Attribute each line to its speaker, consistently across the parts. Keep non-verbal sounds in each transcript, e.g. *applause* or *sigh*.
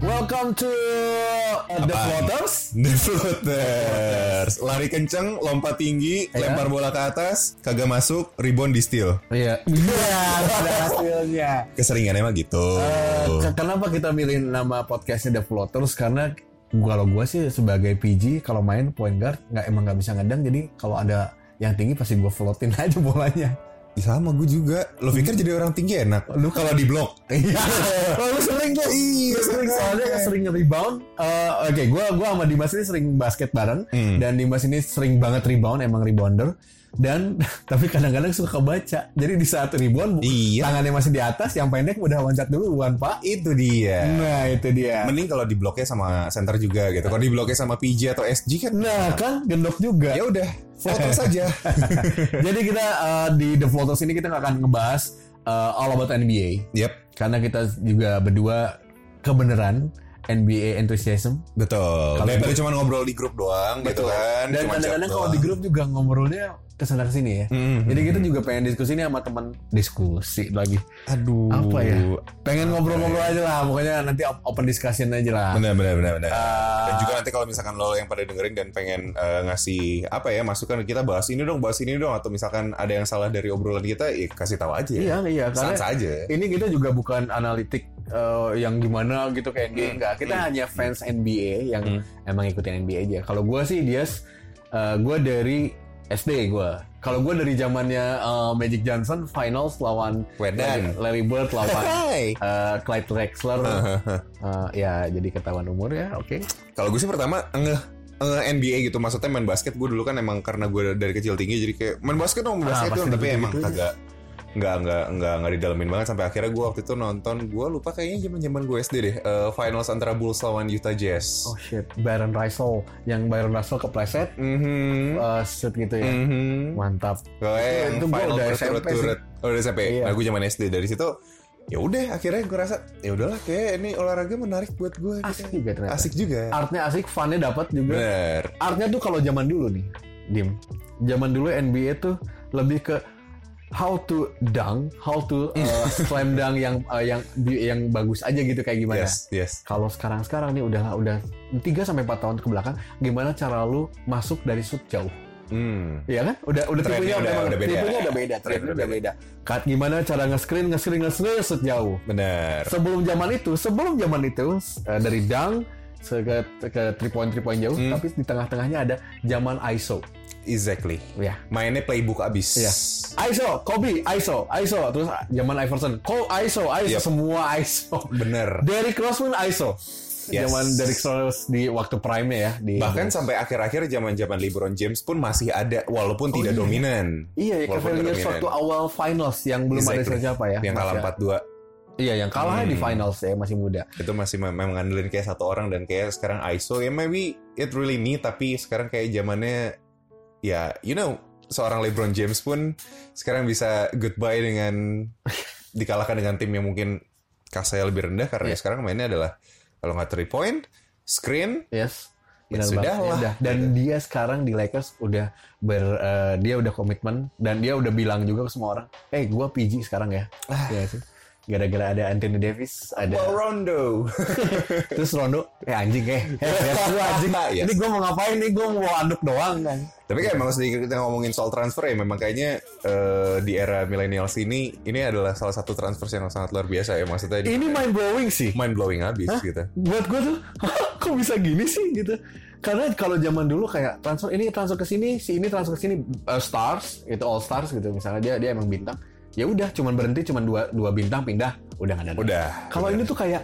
Speaker 1: welcome to The Floaters.
Speaker 2: The floaters. Lari kenceng, lompat tinggi,
Speaker 1: Iya.
Speaker 2: lempar bola ke atas, kagak masuk, rebound di steal.
Speaker 1: Iya. Iya, ada hasilnya.
Speaker 2: Keseringan emang gitu.
Speaker 1: Eh, ke- kenapa kita milih nama podcastnya The Floaters? Karena gua- kalau gue sih sebagai PG kalau main point guard nggak emang nggak bisa ngedang jadi kalau ada yang tinggi pasti gue floatin *laughs* aja bolanya.
Speaker 2: Sama gue juga. Lo pikir jadi orang tinggi enak? Lu kalau di blok.
Speaker 1: Iya. Lalu sering tuh.
Speaker 2: Iya,
Speaker 1: Sering soalnya sering rebound. Eh, Oke, gua gua sama Dimas ini sering basket bareng
Speaker 2: Hmm.
Speaker 1: dan Dimas ini sering banget rebound, emang rebounder. Dan *laughs* tapi kadang-kadang suka kebaca. Jadi di saat rebound
Speaker 2: Iya.
Speaker 1: tangannya masih di atas, yang pendek udah loncat duluan, Pak.
Speaker 2: Itu dia.
Speaker 1: Nah, itu dia.
Speaker 2: Mending kalau di bloknya sama center juga gitu. Kalau di bloknya sama PJ atau SG kan
Speaker 1: Nah, kan gendok juga.
Speaker 2: ya udah foto
Speaker 1: *laughs*
Speaker 2: saja.
Speaker 1: Jadi kita eh, di The Floaters ini kita nggak akan ngebahas eh, all about NBA
Speaker 2: Yep,
Speaker 1: karena kita juga berdua kebenaran NBA enthusiasm
Speaker 2: betul.
Speaker 1: Kalau
Speaker 2: Daripada cuma ngobrol di grup doang gitu kan.
Speaker 1: Dan
Speaker 2: Cuma
Speaker 1: kadang-kadang
Speaker 2: chat
Speaker 1: kalau di
Speaker 2: doang. Hmm,
Speaker 1: grup juga ngobrolnya kesana kesini ya.
Speaker 2: Mm-mm.
Speaker 1: Jadi kita juga pengen diskusi nih sama teman diskusi lagi.
Speaker 2: Aduh.
Speaker 1: Apa ya?
Speaker 2: Ah,
Speaker 1: Pengen ngobrol-ngobrol
Speaker 2: iya.
Speaker 1: aja lah, pokoknya nanti op- open discussion aja lah.
Speaker 2: Benar benar benar benar.
Speaker 1: Ah.
Speaker 2: dan juga nanti kalau misalkan lo yang pada dengerin dan pengen eh, ngasih apa ya masukan kita bahas ini dong bahas ini dong atau misalkan ada yang salah dari obrolan kita ya kasih tahu aja.
Speaker 1: Iya, iya karena
Speaker 2: Sans aja.
Speaker 1: ini kita juga bukan analitik eh, yang gimana gitu kayak NBA enggak. Kita hanya fans NBA yang emang ikutin NBA aja. Kalau gua sih dia gua dari SD gua. Kalau gua dari zamannya eh, Magic Johnson finals lawan
Speaker 2: Wedan.
Speaker 1: Larry Bird lawan *laughs*
Speaker 2: Hai.
Speaker 1: eh Clyde *laughs* Drexler eh, ya jadi ketahuan umur ya oke
Speaker 2: Kalau gue sih pertama ngeh ngeh NBA gitu maksudnya main basket gue dulu kan emang karena gue dari kecil tinggi jadi kayak main basket dong main
Speaker 1: Ah,
Speaker 2: basket
Speaker 1: pasti
Speaker 2: dong tapi
Speaker 1: begitu
Speaker 2: emang
Speaker 1: gitu ya.
Speaker 2: kagak nggak nggak nggak nggak didalemin banget sampai akhirnya gue waktu itu nonton gue lupa kayaknya zaman zaman gue SD deh eh, finals antara Bulls lawan Utah Jazz.
Speaker 1: oh shit Baron Russell yang Baron Russell kepleset
Speaker 2: Mhm.
Speaker 1: eh, shoot gitu ya
Speaker 2: Mhm.
Speaker 1: mantap
Speaker 2: Gue
Speaker 1: Itu-
Speaker 2: yang
Speaker 1: itu gua
Speaker 2: final
Speaker 1: udah SMP sih.
Speaker 2: berturut-turut. Oh, udah SMP.
Speaker 1: Iya.
Speaker 2: Nah, gue zaman SD dari situ ya udah akhirnya gue rasa ya udahlah kayak ini olahraga menarik buat gue
Speaker 1: asik juga ternyata
Speaker 2: Asik juga.
Speaker 1: artnya asik funnya dapat juga
Speaker 2: Bener.
Speaker 1: artnya tuh kalau zaman dulu nih dim zaman dulu NBA tuh lebih ke how to dunk how to eh, slam dunk yang eh, yang yang bagus aja gitu kayak gimana
Speaker 2: Yes, yes.
Speaker 1: kalau sekarang-sekarang nih udah udah 3 sampai 4 tahun ke belakang gimana cara lu masuk dari shoot jauh
Speaker 2: Hmm.
Speaker 1: Iya kan? Udah udah tipenya
Speaker 2: Trennya udah-
Speaker 1: udah,
Speaker 2: udah beda.
Speaker 1: Tipenya udah beda,
Speaker 2: Trennya
Speaker 1: trennya
Speaker 2: udah
Speaker 1: udah beda. Kat gimana cara nge-screen, nge-screen, nge-screen sejauh.
Speaker 2: Bener.
Speaker 1: Sebelum zaman itu, sebelum zaman itu eh, dari dang ke, ke three point three point jauh,
Speaker 2: Hmm.
Speaker 1: tapi di tengah-tengahnya ada zaman ISO.
Speaker 2: Exactly.
Speaker 1: Ya.
Speaker 2: Mainnya playbook abis.
Speaker 1: Iya. ISO, Kobe, ISO, ISO, terus ah, zaman Iverson, Ko ISO, ISO,
Speaker 2: Yep.
Speaker 1: semua ISO.
Speaker 2: Bener.
Speaker 1: Derrick Rose pun ISO.
Speaker 2: Yes.
Speaker 1: Zaman Derrick Rose di waktu prime ya di
Speaker 2: Bahkan sampai akhir-akhir zaman-zaman LeBron James pun masih ada
Speaker 1: Oh,
Speaker 2: walaupun
Speaker 1: iya.
Speaker 2: tidak dominan.
Speaker 1: Iya, ya,
Speaker 2: Walaupun
Speaker 1: Cavaliers
Speaker 2: dominan.
Speaker 1: waktu awal finals yang belum ada
Speaker 2: Exactly.
Speaker 1: siapa-siapa ya.
Speaker 2: Yang kalah
Speaker 1: Masih-
Speaker 2: 4-2
Speaker 1: Iya, yang kalah di
Speaker 2: Hmm.
Speaker 1: finals ya masih muda.
Speaker 2: itu masih mem- memang ngandelin kayak satu orang dan kayak sekarang ISO ya maybe it really me tapi sekarang kayak zamannya ya you know seorang LeBron James pun sekarang bisa goodbye
Speaker 1: *laughs*
Speaker 2: dengan dikalahkan dengan tim yang mungkin kasanya lebih rendah karena
Speaker 1: Iya.
Speaker 2: ya sekarang mainnya adalah kalau nggak three point screen
Speaker 1: Yes.
Speaker 2: Ya, Gitu.
Speaker 1: Benar
Speaker 2: sudah
Speaker 1: banget.
Speaker 2: lah.
Speaker 1: Udah. Dan dia sekarang di Lakers udah ber eh, dia udah komitmen dan dia udah bilang juga ke semua orang, "Eh, gua PG sekarang ya."
Speaker 2: Ah.
Speaker 1: Iya sih. Gara-gara ada Anthony Davis,
Speaker 2: Well,
Speaker 1: ada
Speaker 2: Rondo
Speaker 1: *laughs*
Speaker 2: *laughs*
Speaker 1: terus Rondo, eh anjing eh, eh gua anjing.
Speaker 2: *laughs* Yes.
Speaker 1: Ini gua mau ngapain nih? Gua mau anduk doang kan.
Speaker 2: tapi kayak emang sedikit kita ngomongin soal transfer ya memang kayaknya eh, di era milenial sini ini adalah salah satu transfer yang sangat luar biasa ya maksudnya di-
Speaker 1: Ini mind blowing sih.
Speaker 2: mind blowing abis gitu
Speaker 1: buat gue tuh *laughs* kok bisa gini sih gitu karena kalau zaman dulu kayak transfer ini transfer ke sini si ini transfer ke sini eh, stars itu all stars gitu misalnya dia dia emang bintang ya udah cuman berhenti cuman dua dua bintang pindah udah nggak ada
Speaker 2: udah
Speaker 1: kalau ini tuh kayak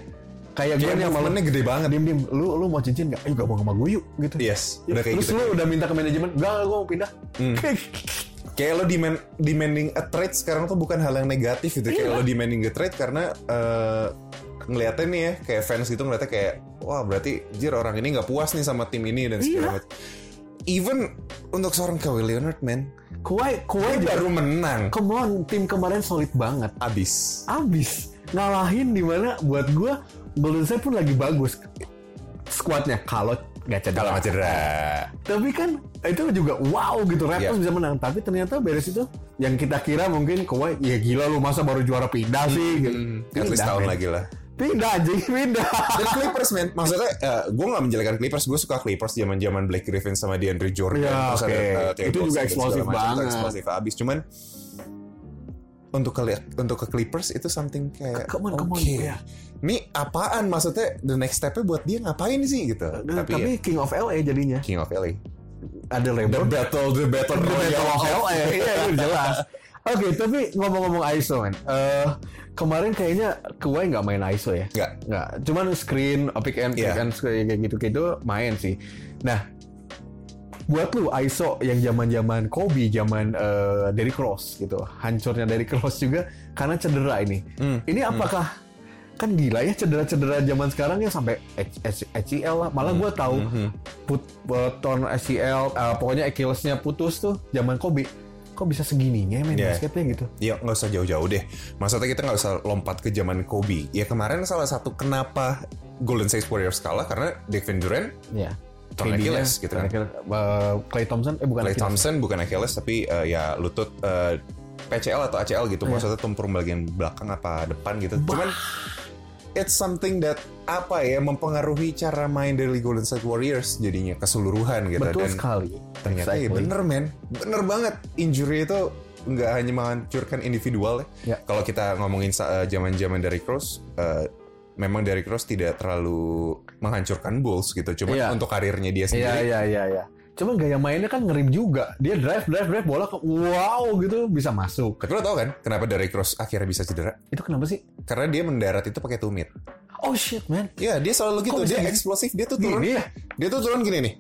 Speaker 1: kayak gue
Speaker 2: Kayak
Speaker 1: nih malam
Speaker 2: movementnya gede banget.
Speaker 1: dim dim lu lu mau cincin nggak ayo gabung sama gue yuk gitu
Speaker 2: Yes, udah kayak
Speaker 1: terus
Speaker 2: gitu. Hmm.
Speaker 1: lu udah minta ke manajemen enggak gue mau pindah
Speaker 2: Kayak lo demand, demanding a trade sekarang tuh bukan hal yang negatif gitu. Kayak lo demanding a trade karena eh, ngeliatnya nih ya, kayak fans gitu ngeliatnya kayak, wah berarti jir orang ini nggak puas nih sama tim ini dan segala macam. Even untuk seorang Kawhi Leonard, man,
Speaker 1: *laughs* kuai kuai
Speaker 2: dia baru menang
Speaker 1: come on tim kemarin solid banget
Speaker 2: abis.
Speaker 1: abis ngalahin di mana buat gue Golden State pun lagi bagus skuadnya kalau nggak cedera.
Speaker 2: Kalau nggak cedera,
Speaker 1: Tapi kan itu juga wow gitu
Speaker 2: Iya.
Speaker 1: Raptors bisa menang. Tapi ternyata beres itu yang kita kira mungkin Kawhi ya gila lu masa baru juara pindah sih. Gitu.
Speaker 2: at least
Speaker 1: Pindah,
Speaker 2: tahun
Speaker 1: men.
Speaker 2: lagi lah.
Speaker 1: Tidak anjing, pindah.
Speaker 2: *laughs* Dan Clippers men, maksudnya eh, gue gak menjelekan Clippers, gue suka Clippers zaman zaman Blake Griffin sama DeAndre Jordan.
Speaker 1: Ya,
Speaker 2: Terus ada,
Speaker 1: oke.
Speaker 2: eh, Terry
Speaker 1: Itu juga
Speaker 2: Boggs dan
Speaker 1: eksplosif
Speaker 2: segala macam, itu
Speaker 1: banget.
Speaker 2: Eksplosif abis, cuman untuk ke untuk ke Clippers itu something kayak
Speaker 1: Come on, come on.
Speaker 2: oke.
Speaker 1: Ya.
Speaker 2: Ini apaan maksudnya the next step-nya buat dia ngapain sih gitu.
Speaker 1: Tapi,
Speaker 2: ya,
Speaker 1: King of LA jadinya.
Speaker 2: King of LA.
Speaker 1: Ada
Speaker 2: The
Speaker 1: label.
Speaker 2: battle, the battle
Speaker 1: The Battle
Speaker 2: royale
Speaker 1: of
Speaker 2: of-
Speaker 1: LA. *laughs* Iya, itu jelas. Oke, tapi ngomong-ngomong ISO, man. Eh, kemarin kayaknya Kawhi nggak main ISO ya?
Speaker 2: Nggak.
Speaker 1: Nggak. Cuman screen, pick and, pick
Speaker 2: Iya.
Speaker 1: and screen, kayak gitu-gitu main sih. Nah, buat lu ISO yang zaman-zaman Kobe, zaman eh, Derrick Rose gitu. Hancurnya Derrick Rose juga karena cedera ini.
Speaker 2: Hmm,
Speaker 1: Ini apakah kan gila ya cedera-cedera zaman sekarang ya sampai ACL lah. Malah
Speaker 2: Hmm.
Speaker 1: gue tahu
Speaker 2: Mhm.
Speaker 1: put eh, torn ACL, eh, pokoknya Achillesnya putus tuh zaman Kobe. Kok bisa segininya main
Speaker 2: Iya.
Speaker 1: basketnya gitu?
Speaker 2: Ya nggak usah jauh-jauh deh. Maksudnya kita nggak usah lompat ke zaman Kobe. Ya kemarin salah satu kenapa Golden State Warriors kalah karena Kevin Durant,
Speaker 1: Ya.
Speaker 2: Torn Iya. Achilles gitu kan.
Speaker 1: Clay Thompson, eh bukan
Speaker 2: Clay
Speaker 1: Achilles.
Speaker 2: Thompson bukan Achilles tapi eh, ya lutut eh, PCL atau ACL gitu.
Speaker 1: Iya.
Speaker 2: Maksudnya tumpur bagian belakang apa depan gitu. Cuman it's something that apa ya mempengaruhi cara main dari Golden State Warriors jadinya keseluruhan gitu
Speaker 1: Betul
Speaker 2: dan
Speaker 1: sekali.
Speaker 2: ternyata ya
Speaker 1: Exactly.
Speaker 2: bener men bener banget injury itu nggak hanya menghancurkan individual
Speaker 1: Ya.
Speaker 2: ya. kalau kita ngomongin sa- eh, zaman-zaman dari Cross eh, memang dari Cross tidak terlalu menghancurkan Bulls gitu cuma
Speaker 1: Iya.
Speaker 2: untuk karirnya dia
Speaker 1: Iya
Speaker 2: sendiri
Speaker 1: iya iya iya. Cuman gaya mainnya kan ngerim juga. Dia drive drive drive bola ke wow gitu bisa masuk.
Speaker 2: tapi lo tau kan kenapa dari Cross akhirnya bisa cedera
Speaker 1: Itu kenapa sih?
Speaker 2: karena dia mendarat itu pakai tumit
Speaker 1: Oh shit man.
Speaker 2: ya dia selalu
Speaker 1: Kok
Speaker 2: gitu
Speaker 1: bisa
Speaker 2: dia
Speaker 1: gini?
Speaker 2: eksplosif dia tuh turun
Speaker 1: Gini ya.
Speaker 2: dia tuh turun gini nih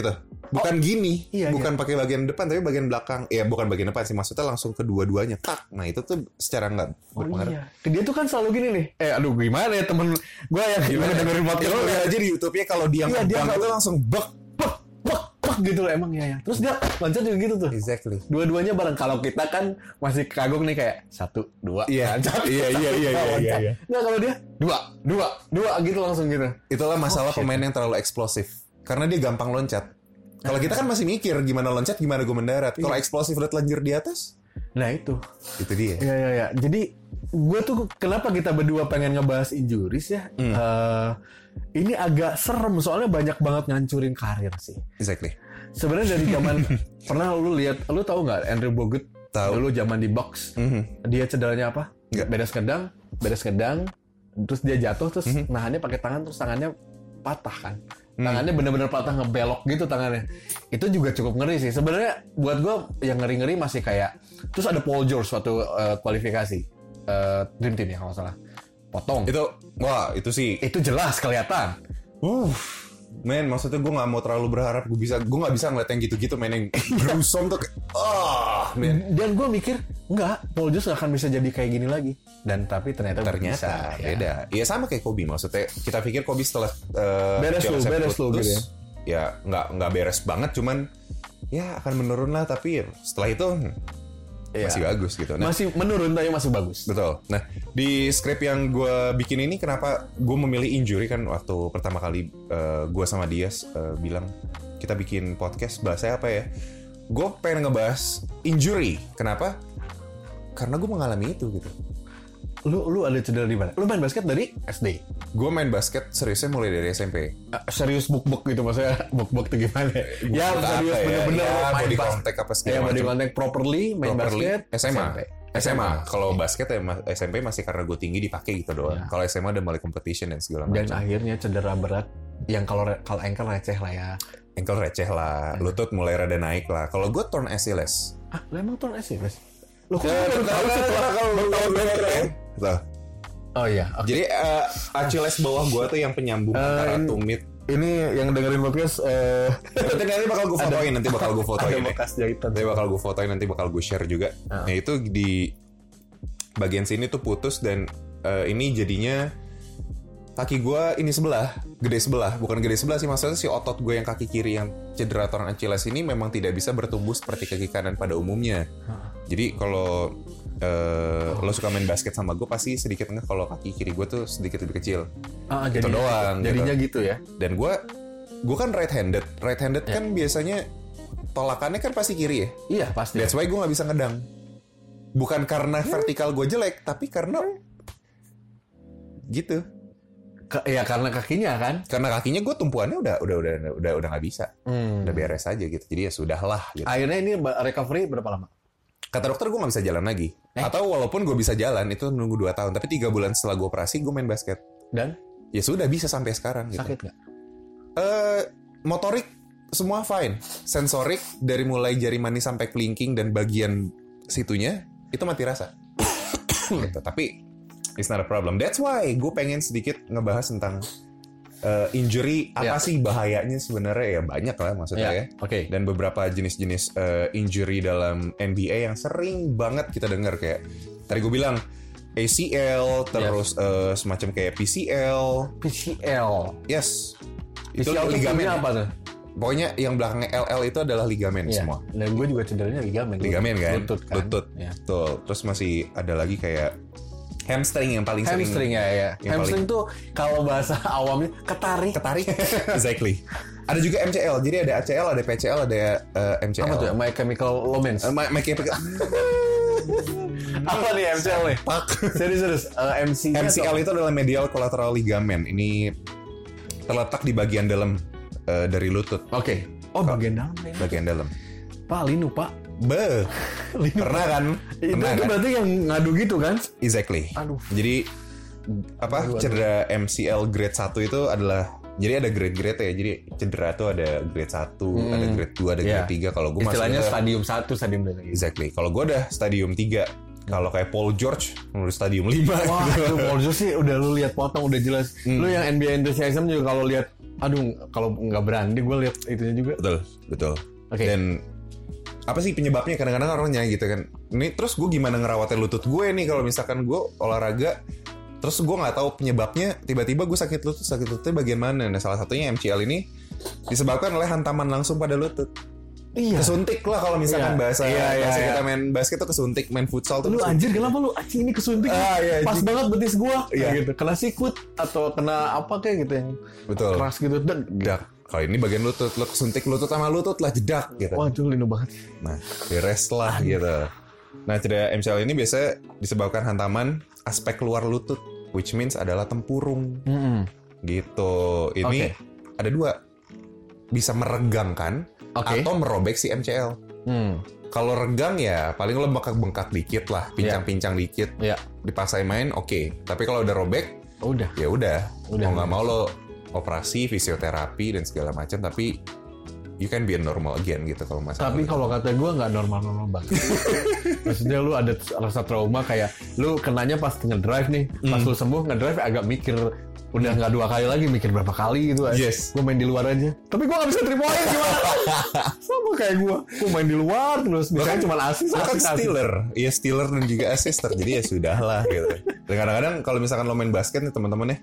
Speaker 2: gitu bukan gini
Speaker 1: iya,
Speaker 2: bukan pakai bagian depan tapi bagian belakang ya bukan bagian depan sih maksudnya langsung kedua-duanya tak nah itu tuh secara nggak
Speaker 1: Oh
Speaker 2: berpengaruh
Speaker 1: iya. Dia tuh kan selalu gini nih. Eh aduh gimana ya temen gue yang
Speaker 2: Gimana?
Speaker 1: dengerin podcast
Speaker 2: Ya, lo
Speaker 1: lu ya.
Speaker 2: lihat aja di YouTube-nya kalau dia
Speaker 1: Iya,
Speaker 2: ngebang
Speaker 1: dia nggak-
Speaker 2: itu langsung bek.
Speaker 1: Pek, pek, pek gitu loh emang ya, ya. Terus dia loncat juga gitu tuh.
Speaker 2: Exactly.
Speaker 1: Dua-duanya bareng kalau kita kan masih kagum nih kayak satu, dua, Nah,
Speaker 2: Iya, *laughs*
Speaker 1: loncat.
Speaker 2: iya, iya, iya, iya, iya, iya.
Speaker 1: Nggak, kalau dia dua, dua, dua gitu langsung gitu.
Speaker 2: Itulah masalah pemain yang terlalu eksplosif. Karena dia gampang loncat. Kalau kita kan masih mikir gimana loncat, gimana gue mendarat. Kalau eksplosif udah telanjur di atas,
Speaker 1: Nah itu.
Speaker 2: itu dia.
Speaker 1: Ya ya ya. Jadi gue tuh kenapa kita berdua pengen ngebahas injuries ya? Eh, ini agak serem soalnya banyak banget ngancurin karir sih.
Speaker 2: Exactly.
Speaker 1: Sebenarnya dari zaman pernah lu lihat, lu tahu nggak Andrew Bogut?
Speaker 2: Tahu.
Speaker 1: Dulu zaman di box,
Speaker 2: Mhm.
Speaker 1: dia cederanya apa?
Speaker 2: Nggak.
Speaker 1: Beres kedang, beres kedang, terus dia jatuh terus nahannya pakai tangan terus tangannya patah kan. Tangannya bener-bener patah ngebelok gitu tangannya. Itu juga cukup ngeri sih. Sebenarnya buat gua yang ngeri-ngeri masih kayak terus ada Paul George waktu eh, kualifikasi eh, Dream Team ya kalau nggak salah. Potong. Itu,
Speaker 2: Itu, wah itu sih.
Speaker 1: jelas kelihatan.
Speaker 2: Uh, men, maksudnya gue nggak mau terlalu berharap gue bisa, gue nggak bisa ngeliat yang gitu-gitu men yang *laughs* gruesome tuh. kayak, Ah, men.
Speaker 1: Dan gue mikir enggak, Paul George nggak akan bisa jadi kayak gini lagi. Dan tapi ternyata
Speaker 2: ternyata
Speaker 1: bisa, ya.
Speaker 2: beda. Ya sama kayak Kobe maksudnya. Kita pikir Kobe setelah eh,
Speaker 1: Beres
Speaker 2: Piala
Speaker 1: lu,
Speaker 2: Sepak
Speaker 1: beres lu
Speaker 2: putus,
Speaker 1: gitu ya.
Speaker 2: Ya nggak nggak beres banget cuman ya akan menurun lah tapi ya setelah itu hmm,
Speaker 1: Iya.
Speaker 2: masih bagus gitu. Nah,
Speaker 1: Masih menurun tapi masih bagus.
Speaker 2: betul. Nah di script yang gue bikin ini kenapa gue memilih injury kan waktu pertama kali gue sama Dias eh, bilang kita bikin podcast bahasanya apa ya? Gue pengen ngebahas injury. Kenapa? Karena gue mengalami itu gitu.
Speaker 1: Lu lu ada cedera di mana? Lu main basket dari SD.
Speaker 2: Gue main basket seriusnya mulai dari SMP.
Speaker 1: Ah, serius buk-buk gitu maksudnya *laughs* buk-buk tuh gimana? ya
Speaker 2: Kita
Speaker 1: serius
Speaker 2: apa ya?
Speaker 1: bener-bener
Speaker 2: Ya,
Speaker 1: main
Speaker 2: body
Speaker 1: basket.
Speaker 2: contact apa segala
Speaker 1: Ya body
Speaker 2: macam.
Speaker 1: contact properly main
Speaker 2: Properly.
Speaker 1: basket
Speaker 2: SMA.
Speaker 1: SMP.
Speaker 2: SMA. Kalau basket ya ma- SMP masih karena gue tinggi dipakai gitu doang.
Speaker 1: Ya.
Speaker 2: Kalau SMA udah mulai competition dan segala
Speaker 1: Dan
Speaker 2: macam.
Speaker 1: akhirnya cedera berat yang kalau re- kalau ankle receh lah ya.
Speaker 2: Ankle receh lah, lutut mulai rada naik lah. Kalau gue torn Achilles.
Speaker 1: Ah, lu emang torn AC, Mas? Lu kok
Speaker 2: Eh,
Speaker 1: baru tahu
Speaker 2: bentar,
Speaker 1: sih?
Speaker 2: bentar, kalau lu tahu gue keren. Tuh.
Speaker 1: Oh iya, oke.
Speaker 2: Jadi eh, Achilles bawah gue tuh yang penyambung antara tumit.
Speaker 1: Ini yang dengerin podcast *laughs* eh
Speaker 2: Nanti nanti bakal gue fotoin, nanti bakal *laughs* gue
Speaker 1: ada
Speaker 2: fotoin. ya.
Speaker 1: bekas jahitan.
Speaker 2: Nanti bakal gue fotoin, nanti bakal gue share juga.
Speaker 1: Ah.
Speaker 2: Nah itu di bagian sini tuh putus dan eh, ini jadinya kaki gue ini sebelah, gede sebelah, bukan gede sebelah sih maksudnya si otot gue yang kaki kiri yang cedera torn Achilles ini memang tidak bisa bertumbuh seperti kaki kanan pada umumnya. Jadi kalau eh, lo suka main basket sama gue pasti sedikit nggak kalau kaki kiri gue tuh sedikit lebih kecil
Speaker 1: Ah,
Speaker 2: Itu
Speaker 1: jadinya-
Speaker 2: doang, gitu.
Speaker 1: Jadinya gitu ya.
Speaker 2: dan gue gue kan right handed, right handed kan biasanya tolakannya kan pasti kiri ya.
Speaker 1: Iya, pasti.
Speaker 2: That's why gue nggak bisa ngedang. Bukan karena vertikal gue jelek, tapi karena gitu.
Speaker 1: Ke- ya karena kakinya kan.
Speaker 2: Karena kakinya gue tumpuannya udah udah udah udah udah nggak bisa, udah beres aja gitu. Jadi ya sudahlah. Gitu.
Speaker 1: Akhirnya ini ba- recovery berapa lama?
Speaker 2: Kata dokter gue nggak bisa jalan lagi. Atau walaupun gue bisa jalan itu nunggu 2 tahun, tapi tiga bulan setelah gue operasi gue main basket.
Speaker 1: Dan
Speaker 2: Ya sudah bisa sampai sekarang. Gitu.
Speaker 1: sakit nggak?
Speaker 2: Eh, motorik semua fine, sensorik dari mulai jari manis sampai kelingking dan bagian situnya itu mati rasa. *coughs* gitu. Tapi it's not a problem. That's why gue pengen sedikit ngebahas tentang eh, injury
Speaker 1: Ya.
Speaker 2: apa sih bahayanya sebenarnya ya banyak lah maksudnya ya.
Speaker 1: Oke.
Speaker 2: dan beberapa jenis-jenis eh, injury dalam NBA yang sering banget kita dengar kayak tadi gue bilang ACL terus
Speaker 1: Ya.
Speaker 2: eh, semacam kayak PCL
Speaker 1: PCL.
Speaker 2: yes itu
Speaker 1: PCL
Speaker 2: ligamen ya?
Speaker 1: ligamen apa tuh?
Speaker 2: pokoknya yang belakangnya LL itu adalah ligamen
Speaker 1: Iya.
Speaker 2: semua
Speaker 1: Dan gue juga cederanya ligamen.
Speaker 2: ligamen kan
Speaker 1: Lutut kan.
Speaker 2: lutut
Speaker 1: Ya.
Speaker 2: betul terus masih ada lagi kayak hamstring yang paling
Speaker 1: Hamstring
Speaker 2: sering
Speaker 1: ya ya.
Speaker 2: Yang
Speaker 1: Hamstring tuh kalau bahasa *laughs* awamnya ketarik.
Speaker 2: ketarik *laughs* exactly ada juga MCL jadi ada ACL ada PCL ada eh, MCL
Speaker 1: Apa tuh? ya? My Chemical Romance.
Speaker 2: Eh, my- my-
Speaker 1: *laughs* apa nih MCL nih?
Speaker 2: Pak.
Speaker 1: Serius serius. Eh, MC. -nya
Speaker 2: MCL itu adalah medial collateral ligament. Ini terletak di bagian dalam eh, dari lutut,
Speaker 1: atau- Oke. Oh bagian dalam. ya.
Speaker 2: bagian dalam.
Speaker 1: Pak Linu Pak.
Speaker 2: Be, pernah kan?
Speaker 1: Itu,
Speaker 2: Pernah
Speaker 1: itu
Speaker 2: kan?
Speaker 1: berarti yang ngadu gitu kan?
Speaker 2: Exactly.
Speaker 1: Aduh.
Speaker 2: Jadi apa
Speaker 1: Aduh, aduh.
Speaker 2: cedera MCL grade 1 itu adalah jadi ada grade-grade ya. Jadi cedera tuh ada grade 1,
Speaker 1: Hmm.
Speaker 2: ada grade 2, ada grade
Speaker 1: Iya.
Speaker 2: 3. Kalau gue
Speaker 1: Istilahnya
Speaker 2: masuk ke-
Speaker 1: stadium 1, stadium 2.
Speaker 2: exactly. Kalau gue udah stadium 3. Kalau kayak Paul George menurut stadium 5
Speaker 1: Hmm. Wah, itu Paul George sih udah lu lihat potong udah jelas. Lu yang NBA enthusiasm juga kalau lihat aduh kalau nggak berani gue lihat itunya juga.
Speaker 2: Betul, betul.
Speaker 1: Oke.
Speaker 2: Dan apa sih penyebabnya kadang-kadang orangnya gitu kan. Ini terus gue gimana ngerawatin lutut gue nih kalau misalkan gue olahraga terus gue nggak tahu penyebabnya tiba-tiba gue sakit lutut sakit lututnya bagian mana nah salah satunya MCL ini disebabkan oleh hantaman langsung pada lutut
Speaker 1: Iya.
Speaker 2: kesuntik lah kalau misalkan
Speaker 1: Iya.
Speaker 2: bahasa
Speaker 1: Iya, iya,
Speaker 2: bahasa
Speaker 1: iya.
Speaker 2: kita main basket tuh kesuntik main futsal tuh
Speaker 1: Lu
Speaker 2: kesuntik.
Speaker 1: anjir kenapa lu anjing ini kesuntik?
Speaker 2: Ah, iya,
Speaker 1: Pas
Speaker 2: anjing.
Speaker 1: banget betis gua
Speaker 2: Iya.
Speaker 1: Kayak gitu. Kena sikut atau kena apa kayak gitu yang
Speaker 2: betul
Speaker 1: keras gitu dan
Speaker 2: jedak kalau ini bagian lutut lo kesuntik lutut sama lutut lah jedak gitu
Speaker 1: Wah, itu linu banget.
Speaker 2: Nah, beres lah gitu. Nah, cedera MCL ini biasa disebabkan hantaman aspek luar lutut, which means adalah tempurung
Speaker 1: Mm-mm.
Speaker 2: gitu. Ini
Speaker 1: Oke.
Speaker 2: ada dua, bisa meregang kan,
Speaker 1: Oke.
Speaker 2: atau merobek si MCL.
Speaker 1: Hmm.
Speaker 2: Kalau regang ya paling lo bengkak-bengkak dikit lah, pincang-pincang dikit,
Speaker 1: Ya,
Speaker 2: dipaksain main oke. Tapi kalau udah robek,
Speaker 1: udah.
Speaker 2: ya udah,
Speaker 1: Udah.
Speaker 2: mau nggak mau lo operasi, fisioterapi dan segala macam. Tapi you can be a normal again gitu kalau masalah.
Speaker 1: Tapi
Speaker 2: lutut.
Speaker 1: kalau kata gue nggak normal-normal
Speaker 2: *laughs*
Speaker 1: banget. Maksudnya lu ada rasa trauma kayak lu kenanya pas ngedrive nih, pas
Speaker 2: Hmm.
Speaker 1: lu sembuh ngedrive agak mikir udah nggak dua kali lagi mikir berapa kali gitu.
Speaker 2: Yes.
Speaker 1: Gue main di luar aja. Tapi gue nggak bisa three point
Speaker 2: *laughs*
Speaker 1: gimana? Sama kayak gue. Gue main di luar terus misalnya
Speaker 2: Bahkan-
Speaker 1: cuma asis,
Speaker 2: Lo kan
Speaker 1: asis, asis.
Speaker 2: Steeler, ya Steeler dan juga assister, jadi ya sudah lah gitu. Dan kadang-kadang kalau misalkan lo main basket nih teman-teman ya,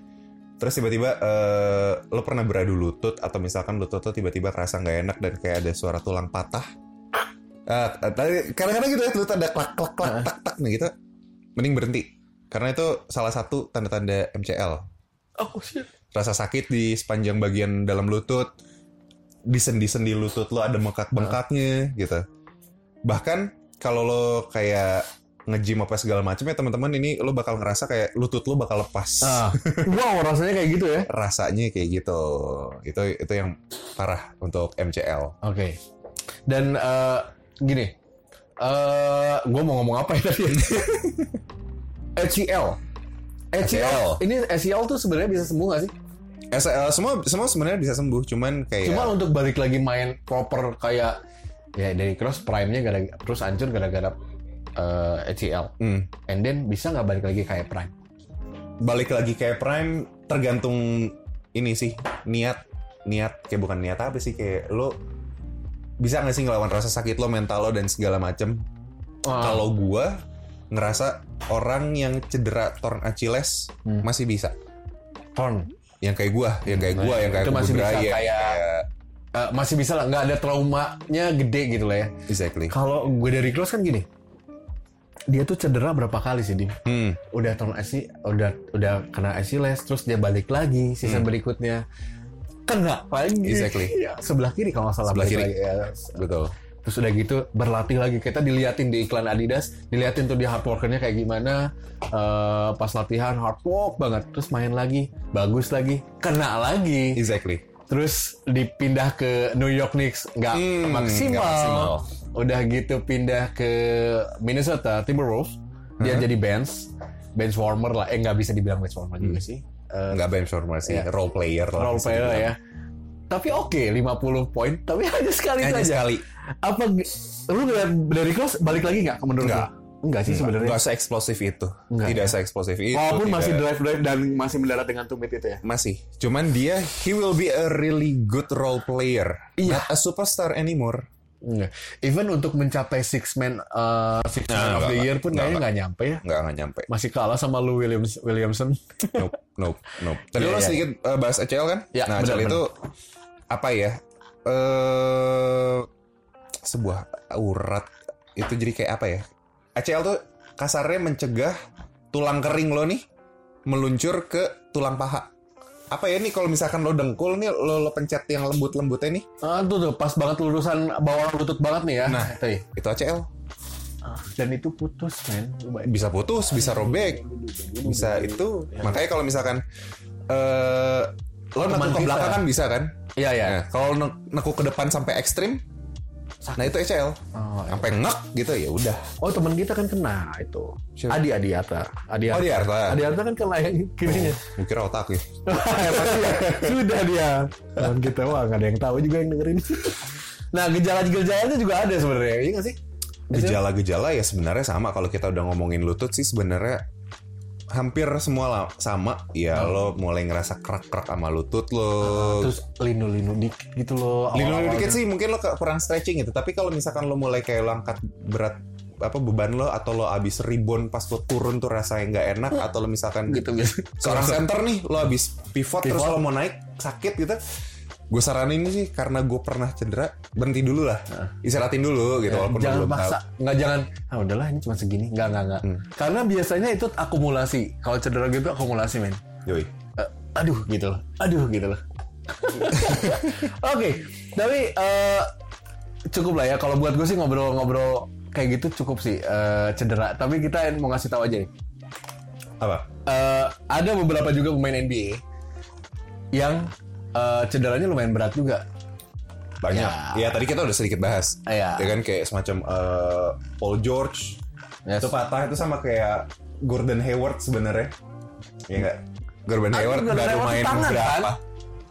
Speaker 2: terus tiba-tiba eh, lo pernah beradu lutut atau misalkan lutut lo tiba-tiba kerasa nggak enak dan kayak ada suara tulang patah. Ah, tadi- kadang-kadang gitu ya lutut ada klak klak klak tak tak nih gitu. Mending berhenti karena itu salah satu tanda-tanda MCL.
Speaker 1: Oh shit.
Speaker 2: Rasa sakit di sepanjang bagian dalam lutut, di sendi-sendi lutut lo ada bengkak-bengkaknya gitu bahkan kalau lo kayak nge-gym apa segala macam ya teman-teman ini lo bakal ngerasa kayak lutut lo bakal lepas
Speaker 1: Ah. wow, rasanya kayak gitu ya.
Speaker 2: rasanya kayak gitu itu itu yang parah untuk MCL
Speaker 1: Oke. Dan eh, gini, eh gue mau ngomong apa
Speaker 2: *laughs*
Speaker 1: ya tadi? E HCL. HCL. Ini HCL tuh sebenarnya bisa sembuh gak sih?
Speaker 2: SL semua semua sebenarnya bisa sembuh cuman kayak
Speaker 1: Cuma untuk balik lagi main proper kayak ya dari cross prime-nya gara terus hancur gara-gara eh, HCL.
Speaker 2: Hmm.
Speaker 1: And then bisa nggak balik lagi kayak prime?
Speaker 2: balik lagi kayak prime tergantung ini sih niat niat kayak bukan niat apa sih kayak lo bisa nggak sih ngelawan rasa sakit lo mental lo dan segala macem
Speaker 1: Ah.
Speaker 2: kalau gua ngerasa orang yang cedera torn Achilles
Speaker 1: Hmm.
Speaker 2: masih bisa
Speaker 1: Torn.
Speaker 2: yang kayak gua, yang kayak gua, yang kayak
Speaker 1: Nah, Itu
Speaker 2: Iya, gua
Speaker 1: masih bisa
Speaker 2: Brian,
Speaker 1: kayak- Eh, masih bisa lah, nggak ada traumanya gede gitu lah ya.
Speaker 2: exactly.
Speaker 1: Kalau gue dari cross kan gini, dia tuh cedera berapa kali sih, Dim?
Speaker 2: Hmm,
Speaker 1: udah turun AC, udah udah kena Achilles terus dia balik lagi season berikutnya kena lagi
Speaker 2: Exactly.
Speaker 1: Ya, sebelah kiri kalau nggak salah
Speaker 2: Sebelah
Speaker 1: balik
Speaker 2: kiri.
Speaker 1: lagi, ya.
Speaker 2: betul.
Speaker 1: terus udah gitu berlatih lagi kita diliatin di iklan Adidas diliatin tuh dia hard workernya kayak gimana eh, pas latihan hard work banget terus main lagi bagus lagi kena lagi
Speaker 2: Exactly.
Speaker 1: terus dipindah ke New York Knicks nggak
Speaker 2: Hmm,
Speaker 1: maksimal.
Speaker 2: nggak maksimal.
Speaker 1: udah gitu pindah ke Minnesota Timberwolves dia
Speaker 2: Hmm.
Speaker 1: jadi bench bench warmer lah eh nggak bisa dibilang bench warmer juga sih Eh,
Speaker 2: Nggak bench warmer sih,
Speaker 1: Iya.
Speaker 2: role player lah.
Speaker 1: role
Speaker 2: Hmm. bisa
Speaker 1: player
Speaker 2: dibilang.
Speaker 1: ya tapi oke 50 poin tapi *laughs* hanya sekali
Speaker 2: Hanya
Speaker 1: saja
Speaker 2: sekali.
Speaker 1: apa g- lu ngeliat dari kelas balik lagi nggak menurut lu?
Speaker 2: Nggak.
Speaker 1: enggak sih sebenarnya
Speaker 2: Nggak se-eksplosif itu.
Speaker 1: Nggak, ya?
Speaker 2: tidak se-eksplosif itu.
Speaker 1: walaupun
Speaker 2: tidak-
Speaker 1: masih drive drive dan masih mendarat dengan tumit itu ya
Speaker 2: Masih. Cuman dia, he will be a really good role player.
Speaker 1: Iya.
Speaker 2: Not a superstar anymore.
Speaker 1: Enggak. even untuk mencapai six man uh, six man
Speaker 2: Nah,
Speaker 1: of
Speaker 2: nggak,
Speaker 1: the year pun
Speaker 2: nggak,
Speaker 1: kayaknya nggak nyampe ya
Speaker 2: Nggak, nggak nyampe.
Speaker 1: masih kalah sama Lou Williams Williamson
Speaker 2: Nope, nope, nope. Tadi
Speaker 1: Iya,
Speaker 2: lo
Speaker 1: iya.
Speaker 2: sedikit eh, bahas ACL kan?
Speaker 1: Iya,
Speaker 2: nah,
Speaker 1: benar,
Speaker 2: ACL itu apa ya? Eh sebuah urat itu jadi kayak apa ya? ACL tuh kasarnya mencegah tulang kering lo nih meluncur ke tulang paha. Apa ya nih kalau misalkan lo dengkul nih lo, lo pencet yang lembut-lembutnya nih
Speaker 1: Ah, tuh tuh pas banget lurusan bawah lutut banget nih ya
Speaker 2: Nah.
Speaker 1: Tuh.
Speaker 2: itu ACL
Speaker 1: Ah, dan itu putus men Lu bayangin.
Speaker 2: bisa putus bisa robek bisa itu makanya kalau misalkan eh lo
Speaker 1: Cuman
Speaker 2: nekuk ke
Speaker 1: bisa.
Speaker 2: belakang kan bisa kan
Speaker 1: iya iya
Speaker 2: Nah, kalau ne- nekuk ke depan sampai ekstrim, nah itu ECL.
Speaker 1: Oh, iya.
Speaker 2: Sampai ngek gitu ya udah.
Speaker 1: Oh teman kita kan kena itu.
Speaker 2: Siapa?
Speaker 1: Adi Adiata. Adi
Speaker 2: Oh, Adiarta.
Speaker 1: Adiata kan kena yang kirinya.
Speaker 2: Gue kira otak ya.
Speaker 1: Pasti ya. Sudah dia. Teman kita wah nggak ada yang tahu juga yang dengerin. nah gejala-gejalanya juga ada sebenarnya, iya nggak sih?
Speaker 2: Gejala-gejala ya sebenarnya sama kalau kita udah ngomongin lutut sih sebenarnya hampir semua la- sama. Ya lo mulai ngerasa krek-krek sama lutut lo.
Speaker 1: Terus linu-linu dikit gitu loh.
Speaker 2: Lindung
Speaker 1: awal-awalnya.
Speaker 2: dikit sih mungkin lo ke- kurang stretching gitu, tapi kalau misalkan lo mulai kayak lo angkat berat apa beban lo atau lo abis rebound pas lo turun tuh rasanya nggak enak atau lo misalkan
Speaker 1: gitu biasa.
Speaker 2: seorang center nih lo habis pivot, terus lo mau naik sakit gitu gue saranin sih karena gue pernah cedera berhenti dulu lah istirahatin dulu gitu walaupun lo
Speaker 1: Iya, jangan
Speaker 2: belum
Speaker 1: paksa,
Speaker 2: tahu. Hmm.
Speaker 1: nggak jangan. Ah udahlah ini cuma segini, nggak nggak nggak. Karena biasanya itu akumulasi. Kalau cedera gitu akumulasi men.
Speaker 2: Yoi.
Speaker 1: Eh, aduh gitu loh aduh gitu
Speaker 2: *laughs*
Speaker 1: loh oke tapi eh, cukup lah ya kalau buat gue sih ngobrol-ngobrol kayak gitu cukup sih eh, cedera tapi kita mau ngasih tahu aja nih
Speaker 2: apa
Speaker 1: Eh, ada beberapa juga pemain NBA yang eh, cederanya lumayan berat juga
Speaker 2: banyak
Speaker 1: Ya.
Speaker 2: ya. tadi kita udah sedikit bahas
Speaker 1: Ya.
Speaker 2: ya kan kayak semacam eh, Paul George
Speaker 1: Yes.
Speaker 2: itu patah itu sama kayak Gordon Hayward sebenarnya ya nggak Gordon
Speaker 1: Ah,
Speaker 2: Hayward
Speaker 1: Gordon
Speaker 2: baru
Speaker 1: Hayward tuh
Speaker 2: main
Speaker 1: tangan kan
Speaker 2: berapa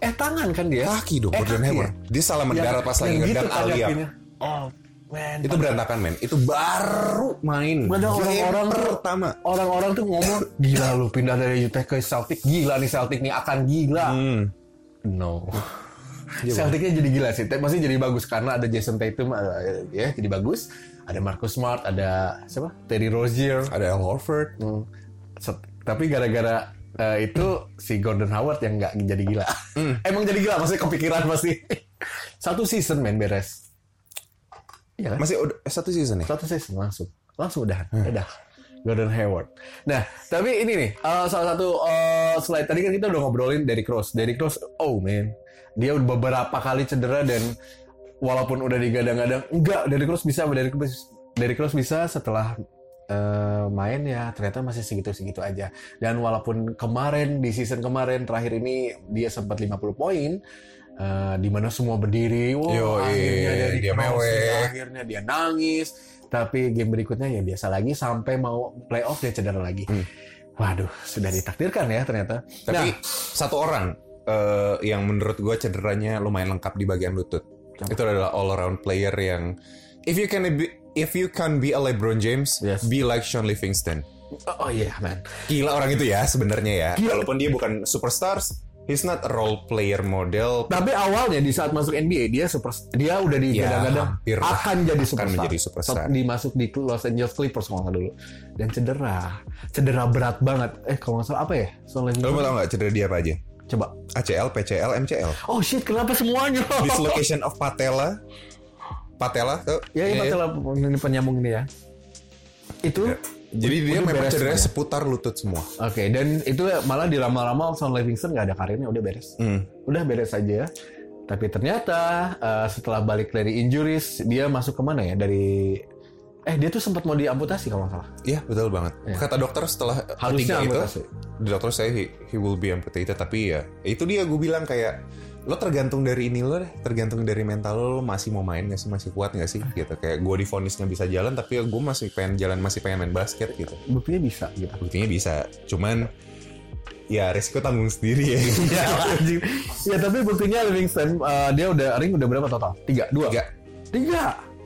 Speaker 1: eh tangan kan dia
Speaker 2: kaki dong
Speaker 1: Eh,
Speaker 2: Gordon
Speaker 1: kaki
Speaker 2: Hayward dia salah
Speaker 1: ya?
Speaker 2: mendarat pas lagi
Speaker 1: Yang gitu
Speaker 2: ngedang
Speaker 1: kan
Speaker 2: Alia
Speaker 1: kakinya. oh man
Speaker 2: itu berantakan men itu baru main
Speaker 1: Padahal
Speaker 2: Game
Speaker 1: orang-orang tuh-
Speaker 2: pertama
Speaker 1: orang-orang tuh ngomong gila lu pindah dari Utah ke Celtic gila nih Celtic nih akan gila no Celticnya jadi gila sih tapi masih jadi bagus karena ada Jason Tatum ada- ya jadi bagus ada Marcus Smart ada siapa Terry Rozier
Speaker 2: ada Al Horford
Speaker 1: Hmm. Set- tapi gara-gara eh, itu si Gordon Howard yang nggak jadi gila emang jadi gila maksudnya kepikiran pasti *laughs* satu season main beres Iya kan?
Speaker 2: masih ud- satu season ya
Speaker 1: satu season langsung langsung udah
Speaker 2: Hmm.
Speaker 1: udah Gordon Hayward. Nah, tapi ini nih eh, salah satu eh, slide tadi kan kita udah ngobrolin dari Cross. Dari Cross, oh man, dia udah beberapa kali cedera dan walaupun udah digadang-gadang, enggak dari Cross bisa, dari dari Cross bisa setelah eh, main ya ternyata masih segitu-segitu aja. Dan walaupun kemarin di season kemarin terakhir ini dia sempat 50 poin, eh, di mana semua berdiri, wow,
Speaker 2: Yoi,
Speaker 1: akhirnya dari
Speaker 2: dia
Speaker 1: Cross,
Speaker 2: mewek.
Speaker 1: akhirnya dia nangis tapi game berikutnya ya biasa lagi sampai mau playoff dia cedera lagi waduh sudah ditakdirkan ya ternyata
Speaker 2: Hmm. tapi
Speaker 1: Nah,
Speaker 2: satu orang eh, yang menurut gue cederanya lumayan lengkap di bagian lutut
Speaker 1: Siapa?
Speaker 2: itu adalah all around player yang if you can be if you can be a LeBron James
Speaker 1: Yes.
Speaker 2: be like Sean Livingston
Speaker 1: oh iya man
Speaker 2: gila orang itu ya sebenarnya ya
Speaker 1: Gila.
Speaker 2: walaupun dia bukan superstars he's not a role player model
Speaker 1: tapi awalnya di saat masuk NBA dia super dia udah digadang-gadang
Speaker 2: Ya, hampir lah.
Speaker 1: akan jadi superstar.
Speaker 2: menjadi superstar.
Speaker 1: Saat dimasuk di Los Angeles Clippers kalau nggak dulu dan cedera cedera berat banget eh kalau nggak salah apa ya soalnya
Speaker 2: lo mau tau nggak cedera dia apa aja
Speaker 1: coba
Speaker 2: ACL PCL MCL
Speaker 1: oh shit kenapa semuanya
Speaker 2: dislocation of patella patella tuh
Speaker 1: *laughs*
Speaker 2: Iya,
Speaker 1: ya ini masalah ini penyambung ini ya itu
Speaker 2: Ya. jadi dia
Speaker 1: Udah
Speaker 2: memang
Speaker 1: beres
Speaker 2: cedera
Speaker 1: semuanya.
Speaker 2: seputar lutut semua
Speaker 1: Oke, dan itu malah di lama-lama Son Livingston nggak ada karirnya, udah beres.
Speaker 2: Hmm.
Speaker 1: Udah beres aja. ya. Tapi ternyata eh, setelah balik dari injuries dia masuk ke mana ya? Dari eh dia tuh sempat mau diamputasi kalau nggak salah.
Speaker 2: Iya betul banget. Kata dokter setelah
Speaker 1: Harusnya
Speaker 2: ketiga itu,
Speaker 1: amputasi.
Speaker 2: dokter saya he, he will be amputated. Tapi ya itu dia gue bilang kayak lo tergantung dari ini lo deh, tergantung dari mental lo, lo masih mau main nggak sih, masih kuat nggak sih gitu. Kayak gue difonis nggak bisa jalan, tapi ya gue masih pengen jalan, masih pengen main basket gitu.
Speaker 1: Buktinya bisa gitu.
Speaker 2: Buktinya bisa, cuman ya resiko tanggung
Speaker 1: *laughs*
Speaker 2: sendiri ya.
Speaker 1: ya, anjing. ya tapi buktinya Livingston eh, dia udah ring udah berapa total? Tiga, dua,
Speaker 2: Tiga.
Speaker 1: tiga.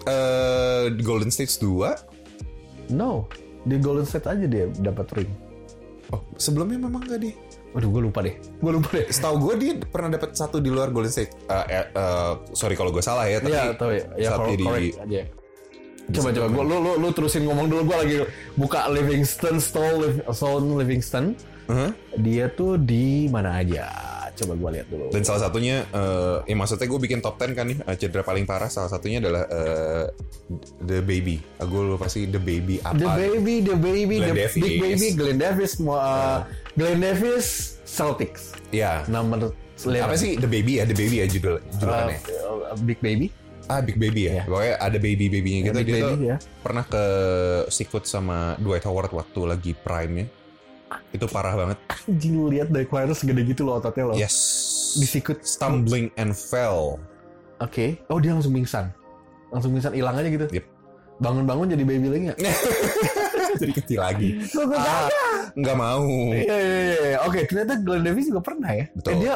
Speaker 2: Eh, Golden State 2
Speaker 1: No, di Golden State aja dia dapat ring.
Speaker 2: Oh, sebelumnya memang gak deh.
Speaker 1: Waduh, gue lupa deh. Gue lupa deh.
Speaker 2: Setahu gue dia pernah dapat satu di luar Golden State. Eh, eh, eh, sorry kalau gue salah ya, tapi
Speaker 1: Iya, tahu ya. Ya,
Speaker 2: satu
Speaker 1: cor-
Speaker 2: di-
Speaker 1: correct aja. Coba coba gua lu, lu lu terusin ngomong dulu gua lagi buka Livingston Stone Liv- Stone Livingston.
Speaker 2: Heeh.
Speaker 1: Dia tuh di mana aja? Coba gua lihat dulu.
Speaker 2: Dan salah satunya, eh ya maksudnya gue bikin top 10 kan nih, eh, cedera paling parah salah satunya adalah eh, The Baby. Gue lupa sih The Baby apa.
Speaker 1: The Baby, The Baby, The
Speaker 2: Glenn Davis.
Speaker 1: Big Baby, Glenn Davis, mau Glenn Davis, Celtics.
Speaker 2: Ya.
Speaker 1: Nomor
Speaker 2: Apa sih The Baby ya? The Baby ya judul judulnya.
Speaker 1: Uh, Big Baby.
Speaker 2: ah Big Baby
Speaker 1: Iya.
Speaker 2: ya. Pokoknya ada baby babynya gitu.
Speaker 1: Big
Speaker 2: Dia
Speaker 1: Baby,
Speaker 2: tuh
Speaker 1: ya.
Speaker 2: pernah ke sikut sama Dwight Howard waktu lagi prime-nya. Itu parah banget.
Speaker 1: Anjing Kan lu lihat dari Quarter segede gitu loh ototnya loh.
Speaker 2: Yes.
Speaker 1: Disikut.
Speaker 2: Stumbling and
Speaker 1: *laughs*
Speaker 2: fell.
Speaker 1: Oke. Oh dia langsung pingsan. Langsung pingsan hilang aja gitu.
Speaker 2: Yep.
Speaker 1: Bangun-bangun jadi baby lagi nggak?
Speaker 2: Jadi kecil lagi. Ah, nggak mau.
Speaker 1: Iya, iya, iya, iya. Oke, ternyata Glenn Davis juga pernah ya.
Speaker 2: Betul.
Speaker 1: Eh, dia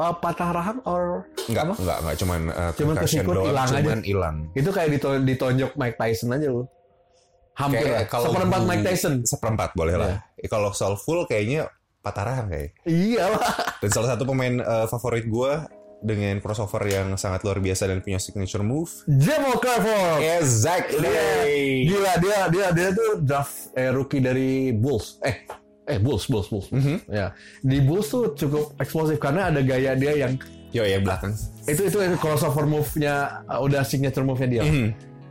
Speaker 1: uh, patah rahang or
Speaker 2: Nggak,
Speaker 1: Apa?
Speaker 2: nggak, nggak. Cuman eh,
Speaker 1: Cuman
Speaker 2: concussion
Speaker 1: kesikut
Speaker 2: doang,
Speaker 1: hilang aja.
Speaker 2: Cuman hilang.
Speaker 1: itu kayak dito- ditonjok Mike Tyson aja lu. Hampir
Speaker 2: Kayak
Speaker 1: lah. seperempat
Speaker 2: di-
Speaker 1: Mike Tyson.
Speaker 2: Seperempat boleh lah. Eh, Kalau soulful kayaknya patah rahang kayak.
Speaker 1: Iya lah. *laughs*
Speaker 2: Dan salah satu pemain eh, favorit gue dengan crossover yang sangat luar biasa dan punya signature move.
Speaker 1: Jamal
Speaker 2: Iya.
Speaker 1: Crawford.
Speaker 2: Exactly.
Speaker 1: Gila, dia dia dia tuh draft eh, rookie dari Bulls. Eh, eh Bulls, Bulls, Bulls.
Speaker 2: Mhm.
Speaker 1: Ya. Di Bulls tuh cukup eksplosif karena ada gaya dia yang
Speaker 2: Yo
Speaker 1: ya,
Speaker 2: yang belakang.
Speaker 1: itu itu crossover move-nya uh, udah signature move-nya dia.
Speaker 2: Mhm.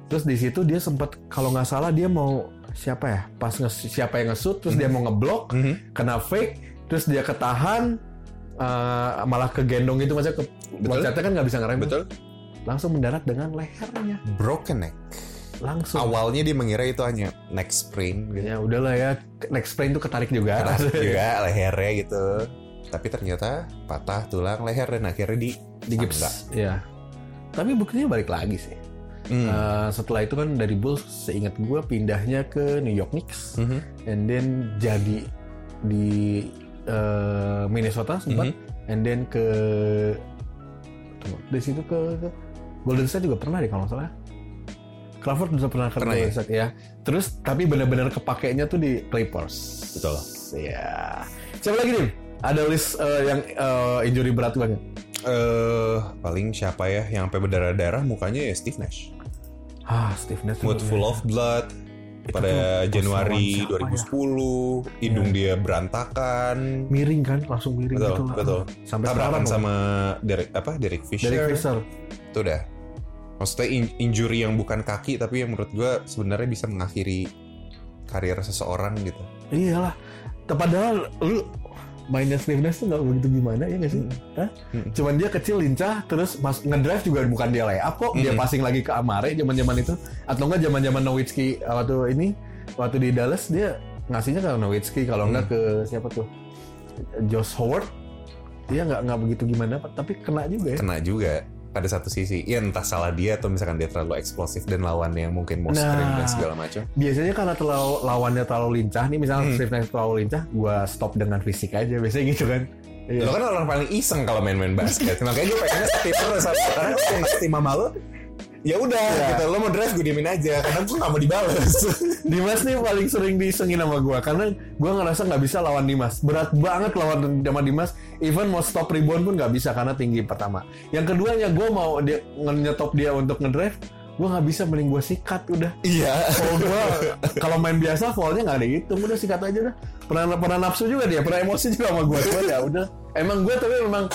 Speaker 1: Terus di situ dia sempat kalau nggak salah dia mau siapa ya? Pas nge- siapa yang nge-shoot terus dia mau ngeblok,
Speaker 2: Mhm.
Speaker 1: kena fake, terus dia ketahan eh, malah kegendong gitu maksudnya ke loncatnya kan nggak bisa ngerem.
Speaker 2: Betul.
Speaker 1: Langsung mendarat dengan lehernya.
Speaker 2: Broken neck.
Speaker 1: Langsung.
Speaker 2: Awalnya dia mengira itu hanya neck sprain gitu.
Speaker 1: Ya udahlah ya, next plane tuh ketarik juga. *laughs*
Speaker 2: Patah juga lehernya gitu. Tapi ternyata patah tulang leher dan akhirnya di Ah,
Speaker 1: Di gips. Iya. Tapi buktinya balik lagi sih.
Speaker 2: Hmm.
Speaker 1: Eh, setelah itu kan dari Bulls seingat gue pindahnya ke New York Knicks.
Speaker 2: Mhm.
Speaker 1: and then jadi di eh, Minnesota sempat
Speaker 2: Mhm.
Speaker 1: and then ke tunggu, di situ ke, ke Golden State juga pernah deh kalau nggak salah Crawford juga pernah ke
Speaker 2: Pernah
Speaker 1: Golden
Speaker 2: ya?
Speaker 1: State ya terus tapi benar-benar kepakainya tuh di Clippers
Speaker 2: Betul.
Speaker 1: ya siapa lagi nih ada list eh, yang eh, injury berat banget
Speaker 2: Eh, paling siapa ya yang sampai berdarah-darah mukanya ya Steve Nash.
Speaker 1: ah Steve Nash
Speaker 2: Mood
Speaker 1: juga.
Speaker 2: Full of Blood
Speaker 1: Itu
Speaker 2: pada
Speaker 1: tuh
Speaker 2: Januari
Speaker 1: pasaran siapa ya?
Speaker 2: 2010, hidung dia berantakan,
Speaker 1: miring kan langsung miring
Speaker 2: Betul,
Speaker 1: gitu lah.
Speaker 2: betul.
Speaker 1: sampai
Speaker 2: tabrakan
Speaker 1: sekarang
Speaker 2: sama Derek apa Derek Fisher.
Speaker 1: dari Fisher
Speaker 2: Itu udah. Maksudnya in- injury yang bukan kaki tapi yang menurut gua sebenarnya bisa mengakhiri karir seseorang gitu.
Speaker 1: Iyalah. Te- Padahal lu mainnya Steve Nash tuh gak begitu gimana ya gak sih? Hah?
Speaker 2: Mm-mm.
Speaker 1: Cuman dia kecil lincah terus mas ngedrive juga bukan dia layup kok. Dia
Speaker 2: Mm-mm.
Speaker 1: passing lagi ke Amare zaman-zaman itu atau enggak zaman-zaman Nowitzki eh, waktu ini waktu di Dallas dia ngasihnya ke Nowitzki kalau enggak ke siapa tuh? Josh Howard. Dia nggak nggak begitu gimana tapi kena juga ya.
Speaker 2: Kena juga pada satu sisi. Ya entah salah dia atau misalkan dia terlalu eksplosif dan lawan yang mungkin mau
Speaker 1: Nah.
Speaker 2: screen dan segala macam.
Speaker 1: Biasanya karena terlalu lawannya terlalu lincah nih misalnya Steve Nash terlalu lincah, gua stop dengan fisik aja biasanya gitu kan. Iya.
Speaker 2: Lo kan orang paling iseng kalau main-main basket. Makanya gue pengennya steam terus. Karena kalau gue nggak steam sama lo, ya udah gitu. Lo mau drive gue diemin aja. Karena gue nggak mau dibales.
Speaker 1: Dimas nih paling sering disengin sama gua karena gua ngerasa nggak bisa lawan Dimas. Berat banget lawan sama Dimas. Even mau stop rebound pun nggak bisa karena tinggi pertama. Yang keduanya gua mau dia nyetop dia untuk ngedrive, gua nggak bisa mending gua sikat udah.
Speaker 2: *laughs* iya.
Speaker 1: Kalau gua kalau main biasa foulnya nggak dihitung udah sikat aja udah. Pernah pernah nafsu juga dia, pernah emosi juga sama gua. Cuma ya udah. Emang gua tapi memang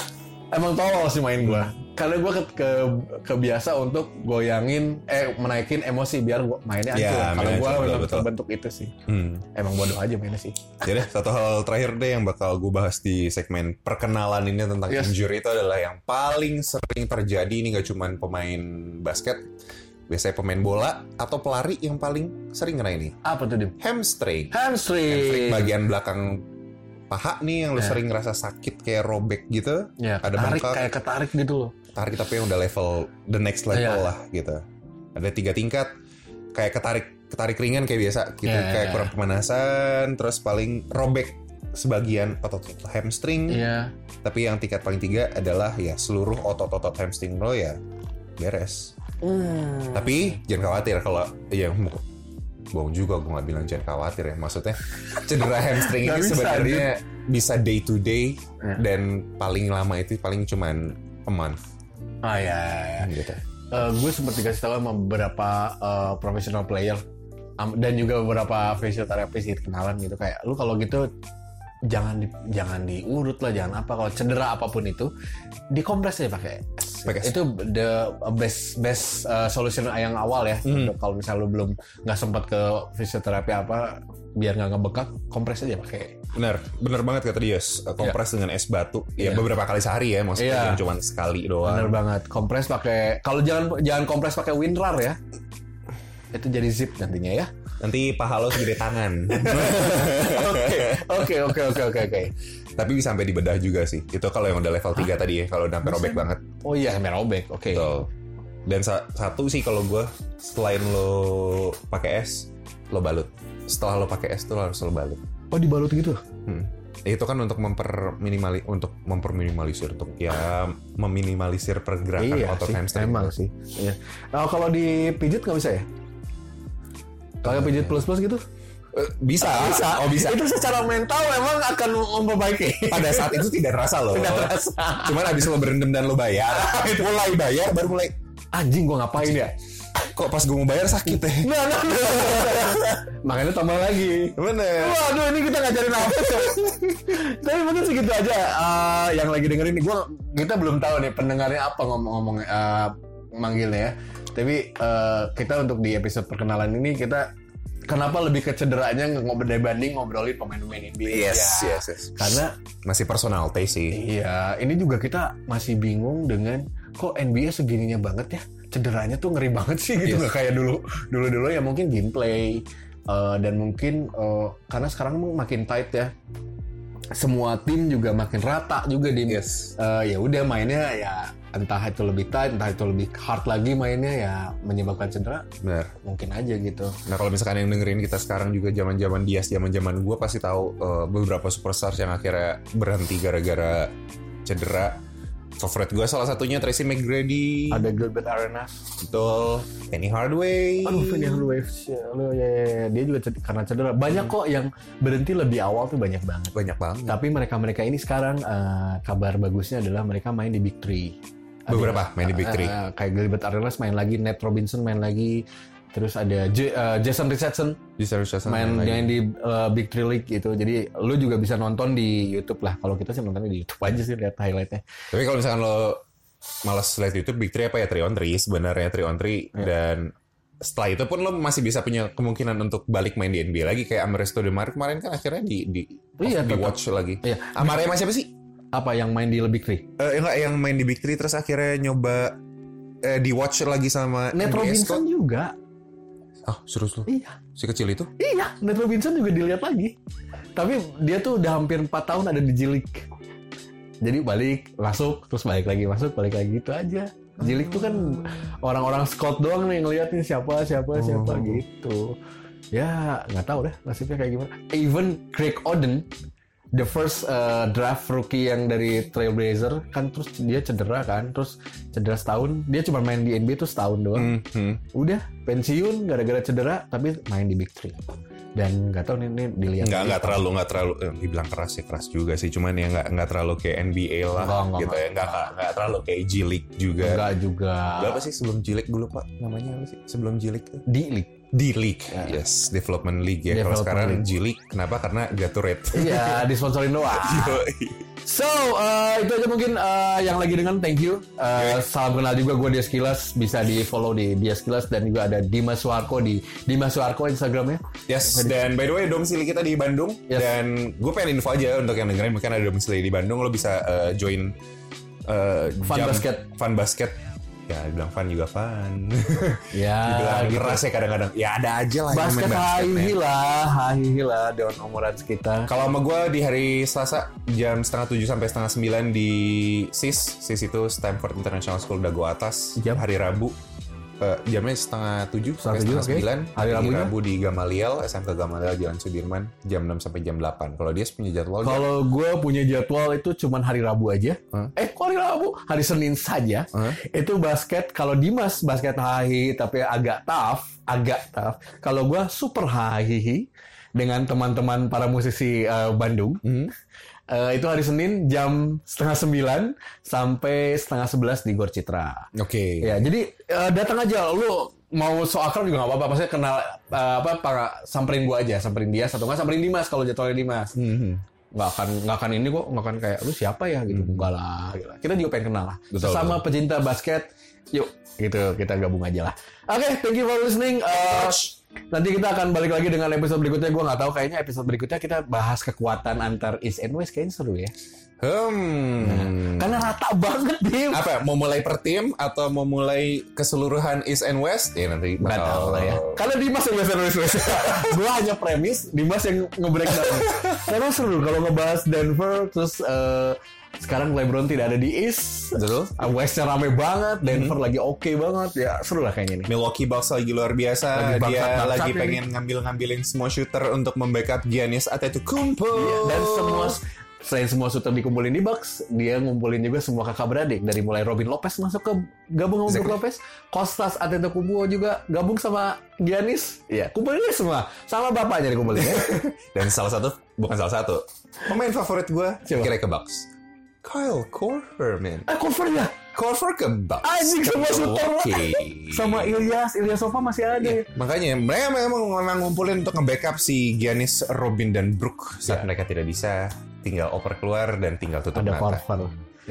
Speaker 1: emang tolol sih main gua. karena gue ke, ke- kebiasa untuk goyangin eh menaikin emosi biar gua mainnya
Speaker 2: Ya,
Speaker 1: hancur. Kalau
Speaker 2: mainnya
Speaker 1: gue
Speaker 2: hancur,
Speaker 1: memang
Speaker 2: betul.
Speaker 1: terbentuk itu sih.
Speaker 2: Hmm.
Speaker 1: Emang bodoh aja mainnya sih.
Speaker 2: Jadi satu hal terakhir deh yang bakal gue bahas di segmen perkenalan ini tentang
Speaker 1: Yes.
Speaker 2: injury itu adalah yang paling sering terjadi ini gak cuman pemain basket, biasanya pemain bola atau pelari yang paling sering kena ini
Speaker 1: Apa tuh Dim?
Speaker 2: hamstring.
Speaker 1: Hamstring.
Speaker 2: Hamstring bagian belakang paha nih yang lu
Speaker 1: Ya.
Speaker 2: sering ngerasa sakit kayak robek gitu,
Speaker 1: Ya,
Speaker 2: ada
Speaker 1: tarik
Speaker 2: bengkak.
Speaker 1: kayak ketarik gitu loh.
Speaker 2: tarik tapi yang udah level the next level
Speaker 1: Iya.
Speaker 2: lah gitu. Ada tiga tingkat kayak ketarik ketarik ringan kayak biasa gitu
Speaker 1: Iya,
Speaker 2: kayak
Speaker 1: iya.
Speaker 2: kurang pemanasan terus paling robek sebagian otot-otot hamstring
Speaker 1: Iya.
Speaker 2: tapi yang tingkat paling tiga adalah ya seluruh otot-otot hamstring lo ya beres.
Speaker 1: Hmm.
Speaker 2: Tapi jangan khawatir kalau ya mu- bohong juga gue nggak bilang jangan khawatir ya maksudnya *laughs* cedera hamstring ini
Speaker 1: Nggak bisa,
Speaker 2: sebenarnya bisa day to day
Speaker 1: Ya.
Speaker 2: dan paling lama itu paling cuman a month
Speaker 1: ah ya. ya, ya.
Speaker 2: gitu.
Speaker 1: Eh, gue sempat dikasih tahu sama beberapa eh, professional player am- dan juga beberapa fisioterapis gitu kenalan gitu kayak lu kalau gitu jangan di- jangan diurut lah jangan apa kalau cedera apapun itu dikompres aja pakai es.
Speaker 2: Pakai es.
Speaker 1: itu the best best eh, solution yang awal ya
Speaker 2: Hmm.
Speaker 1: Untuk kalau misalnya lu belum nggak sempat ke fisioterapi apa biar nggak ngebekak kompres aja pakai
Speaker 2: Benar, benar banget kata dia. eh, Kompres dengan es batu.
Speaker 1: Iya.
Speaker 2: Ya beberapa kali sehari ya,
Speaker 1: Iya.
Speaker 2: maksudnya cuma sekali
Speaker 1: bener
Speaker 2: doang.
Speaker 1: banget kompres pakai kalau jangan jangan kompres pakai winrar ya itu jadi zip nantinya ya
Speaker 2: Nanti paha lo segede
Speaker 1: *laughs*
Speaker 2: tangan.
Speaker 1: Oke oke oke oke oke.
Speaker 2: Tapi bisa sampai di bedah juga sih. Itu kalau yang udah level 3 tadi ya, kalau udah sampai robek banget.
Speaker 1: Oh iya sampai robek. Oke.
Speaker 2: Betul. Dan sa- satu sih kalau gue selain lo pakai es, lo balut. Setelah lo pakai es tuh lo harus lo balut.
Speaker 1: Oh dibalut gitu.
Speaker 2: Hmm. Itu kan untuk memperminimali untuk memperminimalisir untuk ya meminimalisir pergerakan
Speaker 1: iya
Speaker 2: otot
Speaker 1: sih.
Speaker 2: hamstring.
Speaker 1: Emang sih. Iya. Nah, kalau dipijit nggak bisa ya? Kalau pijit plus plus gitu?
Speaker 2: Eh, Bisa, bisa. Oh bisa.
Speaker 1: Itu secara mental memang akan memperbaiki.
Speaker 2: pada saat itu tidak terasa loh.
Speaker 1: Tidak terasa.
Speaker 2: Cuman abis lo berendam dan lo bayar, *laughs* mulai bayar baru mulai
Speaker 1: Anjing gua ngapain ya?
Speaker 2: kok pas gue mau bayar sakit ya.
Speaker 1: Nah, nah, nah. Makanya tambah lagi.
Speaker 2: Bener.
Speaker 1: Waduh ini kita ngajarin apa
Speaker 2: *laughs*
Speaker 1: tuh? ya. Tapi mungkin segitu aja eh, yang lagi dengerin ini. Gua kita belum tahu nih pendengarnya apa ngomong-ngomong eh, manggilnya ya. Tapi eh, kita untuk di episode perkenalan ini kita kenapa lebih ke cederanya ngobrol dibanding ngobrolin pemain-pemain NBA.
Speaker 2: Yes,
Speaker 1: Ya.
Speaker 2: yes, yes.
Speaker 1: Karena
Speaker 2: Masih personal taste sih.
Speaker 1: iya ini juga kita masih bingung dengan kok NBA segininya banget ya. Cederanya tuh ngeri banget sih gitu
Speaker 2: Yes.
Speaker 1: nggak kayak dulu dulu dulu ya mungkin gameplay eh, dan mungkin eh, karena sekarang makin tight ya semua tim juga makin rata juga di
Speaker 2: Yes.
Speaker 1: Eh, ya udah mainnya ya entah itu lebih tight entah itu lebih hard lagi mainnya ya menyebabkan cedera
Speaker 2: Bener.
Speaker 1: mungkin aja gitu
Speaker 2: Nah kalau misalkan yang dengerin kita sekarang juga zaman-zaman dia, zaman-zaman gue pasti tahu eh, beberapa superstars yang akhirnya berhenti gara-gara cedera. Favorit gue salah satunya Tracy McGrady,
Speaker 1: ada Gilbert Arenas
Speaker 2: betul, Penny Hardaway.
Speaker 1: aduh Vinny Hardaway lu ya, ya, ya. dia juga ced- karena cedera banyak kok yang berhenti lebih awal tuh banyak banget
Speaker 2: Banyak banget.
Speaker 1: Iya. tapi mereka-mereka ini sekarang eh, kabar bagusnya adalah mereka main di Big Three Ada-
Speaker 2: Beberapa main di Big Three.
Speaker 1: Eh, kayak Gilbert Arenas main lagi Nate Robinson main lagi terus ada J- eh, Jason Richardson
Speaker 2: Jason Richardson
Speaker 1: main
Speaker 2: main lagi.
Speaker 1: yang di uh, Big Three League gitu. Jadi lu juga bisa nonton di YouTube lah. Kalau kita sih nontonnya di YouTube aja sih lihat highlightnya.
Speaker 2: Tapi kalau misalkan lo malas lihat YouTube, Big Three apa ya? 3 on 3 sebenarnya, 3 on 3.
Speaker 1: Iya.
Speaker 2: Dan setelah itu pun lo masih bisa punya kemungkinan untuk balik main di NBA lagi. Kayak Ameresto Demar kemarin kan akhirnya di, di,
Speaker 1: Iya,
Speaker 2: di
Speaker 1: tetap.
Speaker 2: watch lagi.
Speaker 1: Iya.
Speaker 2: Amare masih apa sih?
Speaker 1: Apa yang main di Big Three?
Speaker 2: Eh, enggak, yang main di Big Three terus akhirnya nyoba eh, di watch lagi sama
Speaker 1: Nate
Speaker 2: NBA
Speaker 1: Robinson
Speaker 2: Scott.
Speaker 1: juga.
Speaker 2: Ah, serius lo?
Speaker 1: Iya.
Speaker 2: Si kecil itu?
Speaker 1: Iya, Nate Robinson juga dilihat lagi. Tapi dia tuh udah hampir 4 tahun ada di Jilik. Jadi balik, masuk, terus balik lagi, masuk, balik lagi gitu aja. Jilik tuh kan orang-orang Scott doang nih ngeliatin siapa, siapa, siapa
Speaker 2: Oh.
Speaker 1: gitu. Ya nggak tahu deh nasibnya kayak gimana. Even Craig Oden, the first uh, draft rookie yang dari Trailblazer kan terus dia cedera kan, terus cedera setahun. Dia cuma main di NBA tuh setahun doang
Speaker 2: Mhm.
Speaker 1: udah pensiun gara-gara cedera tapi main di Big Three dan nggak tahu nih, nih dilihat
Speaker 2: Nggak, nggak terlalu, nggak terlalu, eh, dibilang keras ya, keras juga sih. Cuman ya nggak, nggak terlalu kayak NBA
Speaker 1: Nggak,
Speaker 2: lah
Speaker 1: nggak,
Speaker 2: gitu ya. Nggak, nggak, nggak terlalu kayak G League juga.
Speaker 1: Nggak juga
Speaker 2: Berapa sih sebelum Jilik dulu Pak? Namanya apa sih? Sebelum Jilik tuh?
Speaker 1: di league
Speaker 2: D League.
Speaker 1: Ya.
Speaker 2: Yes, Development League ya. Kalau
Speaker 1: Development
Speaker 2: sekarang
Speaker 1: League.
Speaker 2: Jilik, kenapa? Karena Gatorade.
Speaker 1: iya disponsorin doang
Speaker 2: *laughs* Yoi.
Speaker 1: So, eh, itu aja mungkin eh, yang lagi dengan thank you. Eh,
Speaker 2: Iya.
Speaker 1: Salam kenal juga gue Dias Kilas. Bisa di follow di Dias Kilas dan juga ada Dimas Suarko di Dimas Suarko Instagramnya.
Speaker 2: Yes, dan by the way domisili kita di Bandung
Speaker 1: Yes.
Speaker 2: dan gue pengen info aja untuk yang dengerin mungkin ada domisili di Bandung lo bisa eh, join eh,
Speaker 1: Fun
Speaker 2: jam-
Speaker 1: basket.
Speaker 2: fun basket ya bilang fun juga fun
Speaker 1: Ya,
Speaker 2: *laughs* dibilang
Speaker 1: gitu.
Speaker 2: keras ya kadang-kadang ya ada aja lah yang main
Speaker 1: basket
Speaker 2: basket, ya.
Speaker 1: hahihi
Speaker 2: men.
Speaker 1: lah, hahihi lah daun umuran sekitar.
Speaker 2: kalau sama gue di hari Selasa jam setengah tujuh sampai setengah sembilan di SIS SIS itu Stanford International School Dago Atas
Speaker 1: Jam?
Speaker 2: hari Rabu Eh, jamnya setengah tujuh
Speaker 1: Setengah tujuh,
Speaker 2: sampai setengah
Speaker 1: oke.
Speaker 2: sembilan
Speaker 1: Hari Rabunya?
Speaker 2: Rabu di Gamaliel SMK Gamaliel Jalan Sudirman jam 6 sampai jam 8 kalau dia punya jadwal jam-
Speaker 1: Kalau gue punya jadwal itu cuman hari Rabu aja.
Speaker 2: Hah?
Speaker 1: Eh, kok hari Rabu? Hari Senin saja.
Speaker 2: Hah?
Speaker 1: Itu basket. Kalau Dimas basket hahihi tapi agak tough, agak tough. Kalau gue super hahihi dengan teman-teman para musisi eh, Bandung.
Speaker 2: Hmm.
Speaker 1: Eh, itu hari Senin jam setengah sembilan sampai setengah sebelas di Gor Citra.
Speaker 2: Oke.
Speaker 1: Ya, jadi eh, datang aja lu mau so akrab juga nggak apa-apa, maksudnya kenal eh, apa para samperin gua aja, samperin dia atau nggak samperin Dimas kalau jadwalnya Dimas.
Speaker 2: Mhm.
Speaker 1: Nggak akan nggak akan ini kok, nggak akan kayak lu siapa ya gitu. Enggak lah. gitu. Kita juga pengen kenal lah.
Speaker 2: Hmm. Betul,
Speaker 1: Sama pecinta basket, yuk gitu kita gabung aja lah. Oke, thank you for listening. Eh, nanti kita akan balik lagi dengan episode berikutnya. Gua nggak tahu kayaknya episode berikutnya kita bahas kekuatan antar East and West kayaknya seru ya.
Speaker 2: Hmm.
Speaker 1: Karena rata banget Dim.
Speaker 2: Apa? ya? Mau mulai per tim atau mau mulai keseluruhan East and West? Ya nanti
Speaker 1: Nggak tahu lah ya. Karena Dimas yang biasa nulis
Speaker 2: *laughs*
Speaker 1: nulis. Gue hanya premis, Dimas yang nge-breakdown. Karena seru kalau ngebahas Denver, terus eh, sekarang LeBron tidak ada di East.
Speaker 2: Betul.
Speaker 1: Ah, Westnya rame banget, Denver
Speaker 2: Hmm.
Speaker 1: lagi oke banget. Ya seru lah kayaknya nih.
Speaker 2: Milwaukee Bucks lagi luar biasa.
Speaker 1: Lagi
Speaker 2: Dia
Speaker 1: bangsat-bangsat
Speaker 2: lagi
Speaker 1: ini.
Speaker 2: pengen ngambil-ngambilin semua shooter untuk membackup Giannis Antetokounmpo.
Speaker 1: Iya, Dan
Speaker 2: Oh.
Speaker 1: semua selain semua shooter dikumpulin di Bucks, dia ngumpulin juga semua kakak beradik dari mulai Robin Lopez masuk ke gabung sama Brook
Speaker 2: Exactly.
Speaker 1: Lopez, Kostas Antetokounmpo juga gabung sama Giannis. Ya, kumpulin dia semua. Sama bapaknya dikumpulin
Speaker 2: *laughs*
Speaker 1: ya.
Speaker 2: dan salah satu bukan salah satu pemain favorit gue
Speaker 1: Siapa?
Speaker 2: kira ke Bucks. Kyle Korver, man.
Speaker 1: Eh, cover ya.
Speaker 2: Korver ke Bucks.
Speaker 1: Anjing,
Speaker 2: Ke
Speaker 1: semua shooter.
Speaker 2: Milwaukee.
Speaker 1: sama Ilyas, Ilyasova masih ada.
Speaker 2: Iya, makanya mereka memang, memang ngumpulin untuk nge-backup si Giannis, Robin dan Brook saat mereka tidak bisa tinggal oper keluar dan tinggal tutup
Speaker 1: Iya. Ada
Speaker 2: mata.
Speaker 1: Corver.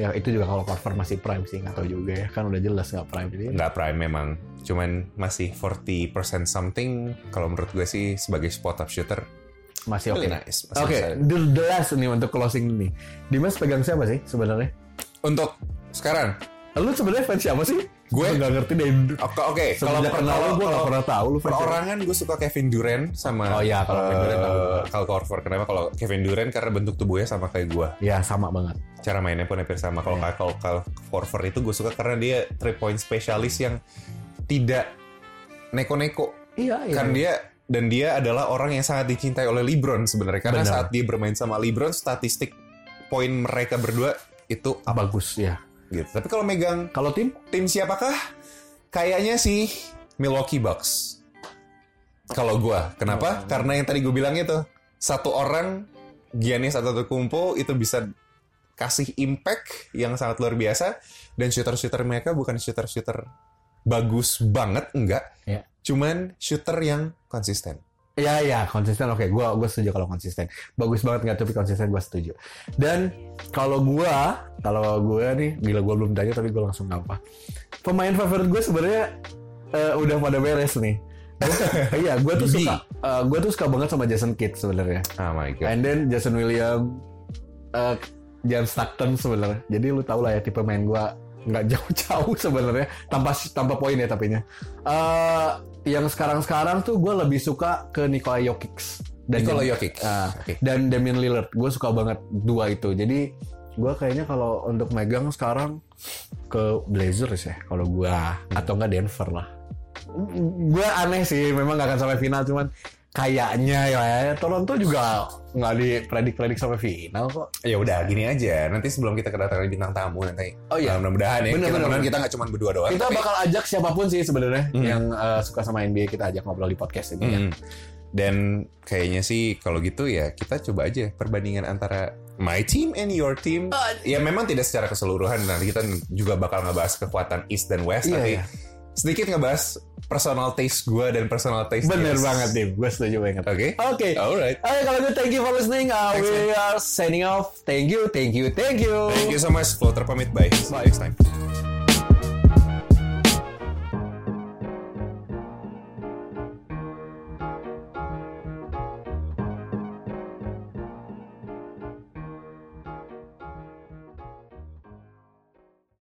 Speaker 1: Ya itu juga kalau Corver masih prime sih nggak tahu juga ya kan udah jelas nggak prime jadi.
Speaker 2: Nggak prime memang, cuman masih 40% something. Kalau menurut gue sih sebagai spot up shooter,
Speaker 1: masih oke.
Speaker 2: really nice. Masih
Speaker 1: Oke,
Speaker 2: bisa.
Speaker 1: the the last nih untuk closing nih. Dimas pegang siapa sih sebenarnya?
Speaker 2: Untuk sekarang,
Speaker 1: Lu sebenarnya fans siapa sih?
Speaker 2: Gue-
Speaker 1: nggak ngerti deh.
Speaker 2: oke oke. Kalau
Speaker 1: Semenjak kenal lu, gue nggak pernah tahu lu fans. siapa.
Speaker 2: perorangan gue suka Kevin Durant sama
Speaker 1: Oh iya, kalau Kevin Durant tahu.
Speaker 2: eh, Kyle Korver. Kenapa kalau Kevin Durant karena bentuk tubuhnya sama kayak gue.
Speaker 1: Ya sama banget.
Speaker 2: cara mainnya pun hampir
Speaker 1: Iya.
Speaker 2: sama. Kalau nggak kalau kalau Korver itu gue suka karena dia three point spesialis yang tidak neko-neko.
Speaker 1: Iya iya.
Speaker 2: Kan dia dan dia adalah orang yang sangat dicintai oleh LeBron sebenarnya karena
Speaker 1: Benar.
Speaker 2: saat dia bermain sama LeBron statistik poin mereka berdua itu up
Speaker 1: bagus ya.
Speaker 2: gitu. Tapi kalau megang
Speaker 1: Kalau tim
Speaker 2: tim siapakah? Kayaknya sih Milwaukee Bucks. Kalau gua,
Speaker 1: Hmm.
Speaker 2: kenapa? Karena yang tadi gue bilang itu satu orang Giannis Antetokounmpo itu bisa kasih impact yang sangat luar biasa dan shooter-shooter mereka bukan shooter-shooter bagus banget enggak,
Speaker 1: Ya.
Speaker 2: cuman shooter yang konsisten.
Speaker 1: Ya ya konsisten oke gua gue setuju kalau konsisten bagus banget nggak tapi konsisten gue setuju dan kalau gua kalau gua nih gila gua belum tanya tapi gua langsung ngapa pemain favorit gue sebenarnya eh, udah pada beres nih Gua- iya gue tuh
Speaker 2: Bibi.
Speaker 1: suka eh, gua tuh suka banget sama Jason Kidd sebenarnya
Speaker 2: Oh my
Speaker 1: and then Jason William eh, James Stockton sebenarnya jadi lu tau lah ya tipe main gua nggak *laughs* jauh-jauh sebenarnya tanpa tanpa poin ya tapinya Eh yang sekarang-sekarang tuh gua lebih suka ke Nikola Jokic dan
Speaker 2: Nikola Jokic.
Speaker 1: Ah,
Speaker 2: Oke.
Speaker 1: dan Damian Lillard gue suka banget dua itu jadi gua kayaknya kalau untuk megang sekarang ke Blazers ya kalau gua atau enggak Denver lah gue aneh sih memang nggak akan sampai final cuman kayaknya ya Toronto juga nggak dipredik-predik sampai final kok
Speaker 2: Ya udah gini aja. Nanti sebelum kita kedatangan bintang tamu nanti.
Speaker 1: Oh iya.
Speaker 2: Nah, mudah-mudahan ya.
Speaker 1: Bener,
Speaker 2: kita
Speaker 1: bener,
Speaker 2: mudah-mudahan
Speaker 1: bener.
Speaker 2: kita nggak cuma berdua doang.
Speaker 1: kita
Speaker 2: tapi-
Speaker 1: bakal ajak siapapun sih sebenarnya yang eh, suka sama NBA kita ajak ngobrol di podcast ini ya.
Speaker 2: Mm. Dan kayaknya sih kalau gitu ya kita coba aja perbandingan antara my team and your team.
Speaker 1: Oh,
Speaker 2: Nah, Ya memang tidak secara keseluruhan. Nanti kita juga bakal ngebahas kekuatan East dan West.
Speaker 1: Iya,
Speaker 2: tapi
Speaker 1: iya.
Speaker 2: sedikit ngebahas personal taste gue dan personal taste
Speaker 1: Bener
Speaker 2: Dimas.
Speaker 1: banget deh, gue setuju banget.
Speaker 2: Oke.
Speaker 1: Oke.
Speaker 2: Alright.
Speaker 1: Oke, kalau gitu thank you for listening. Uh,
Speaker 2: Thanks,
Speaker 1: we are signing off. Thank you, thank you, thank you.
Speaker 2: Thank you so much. Floater pamit. Bye. See you next time.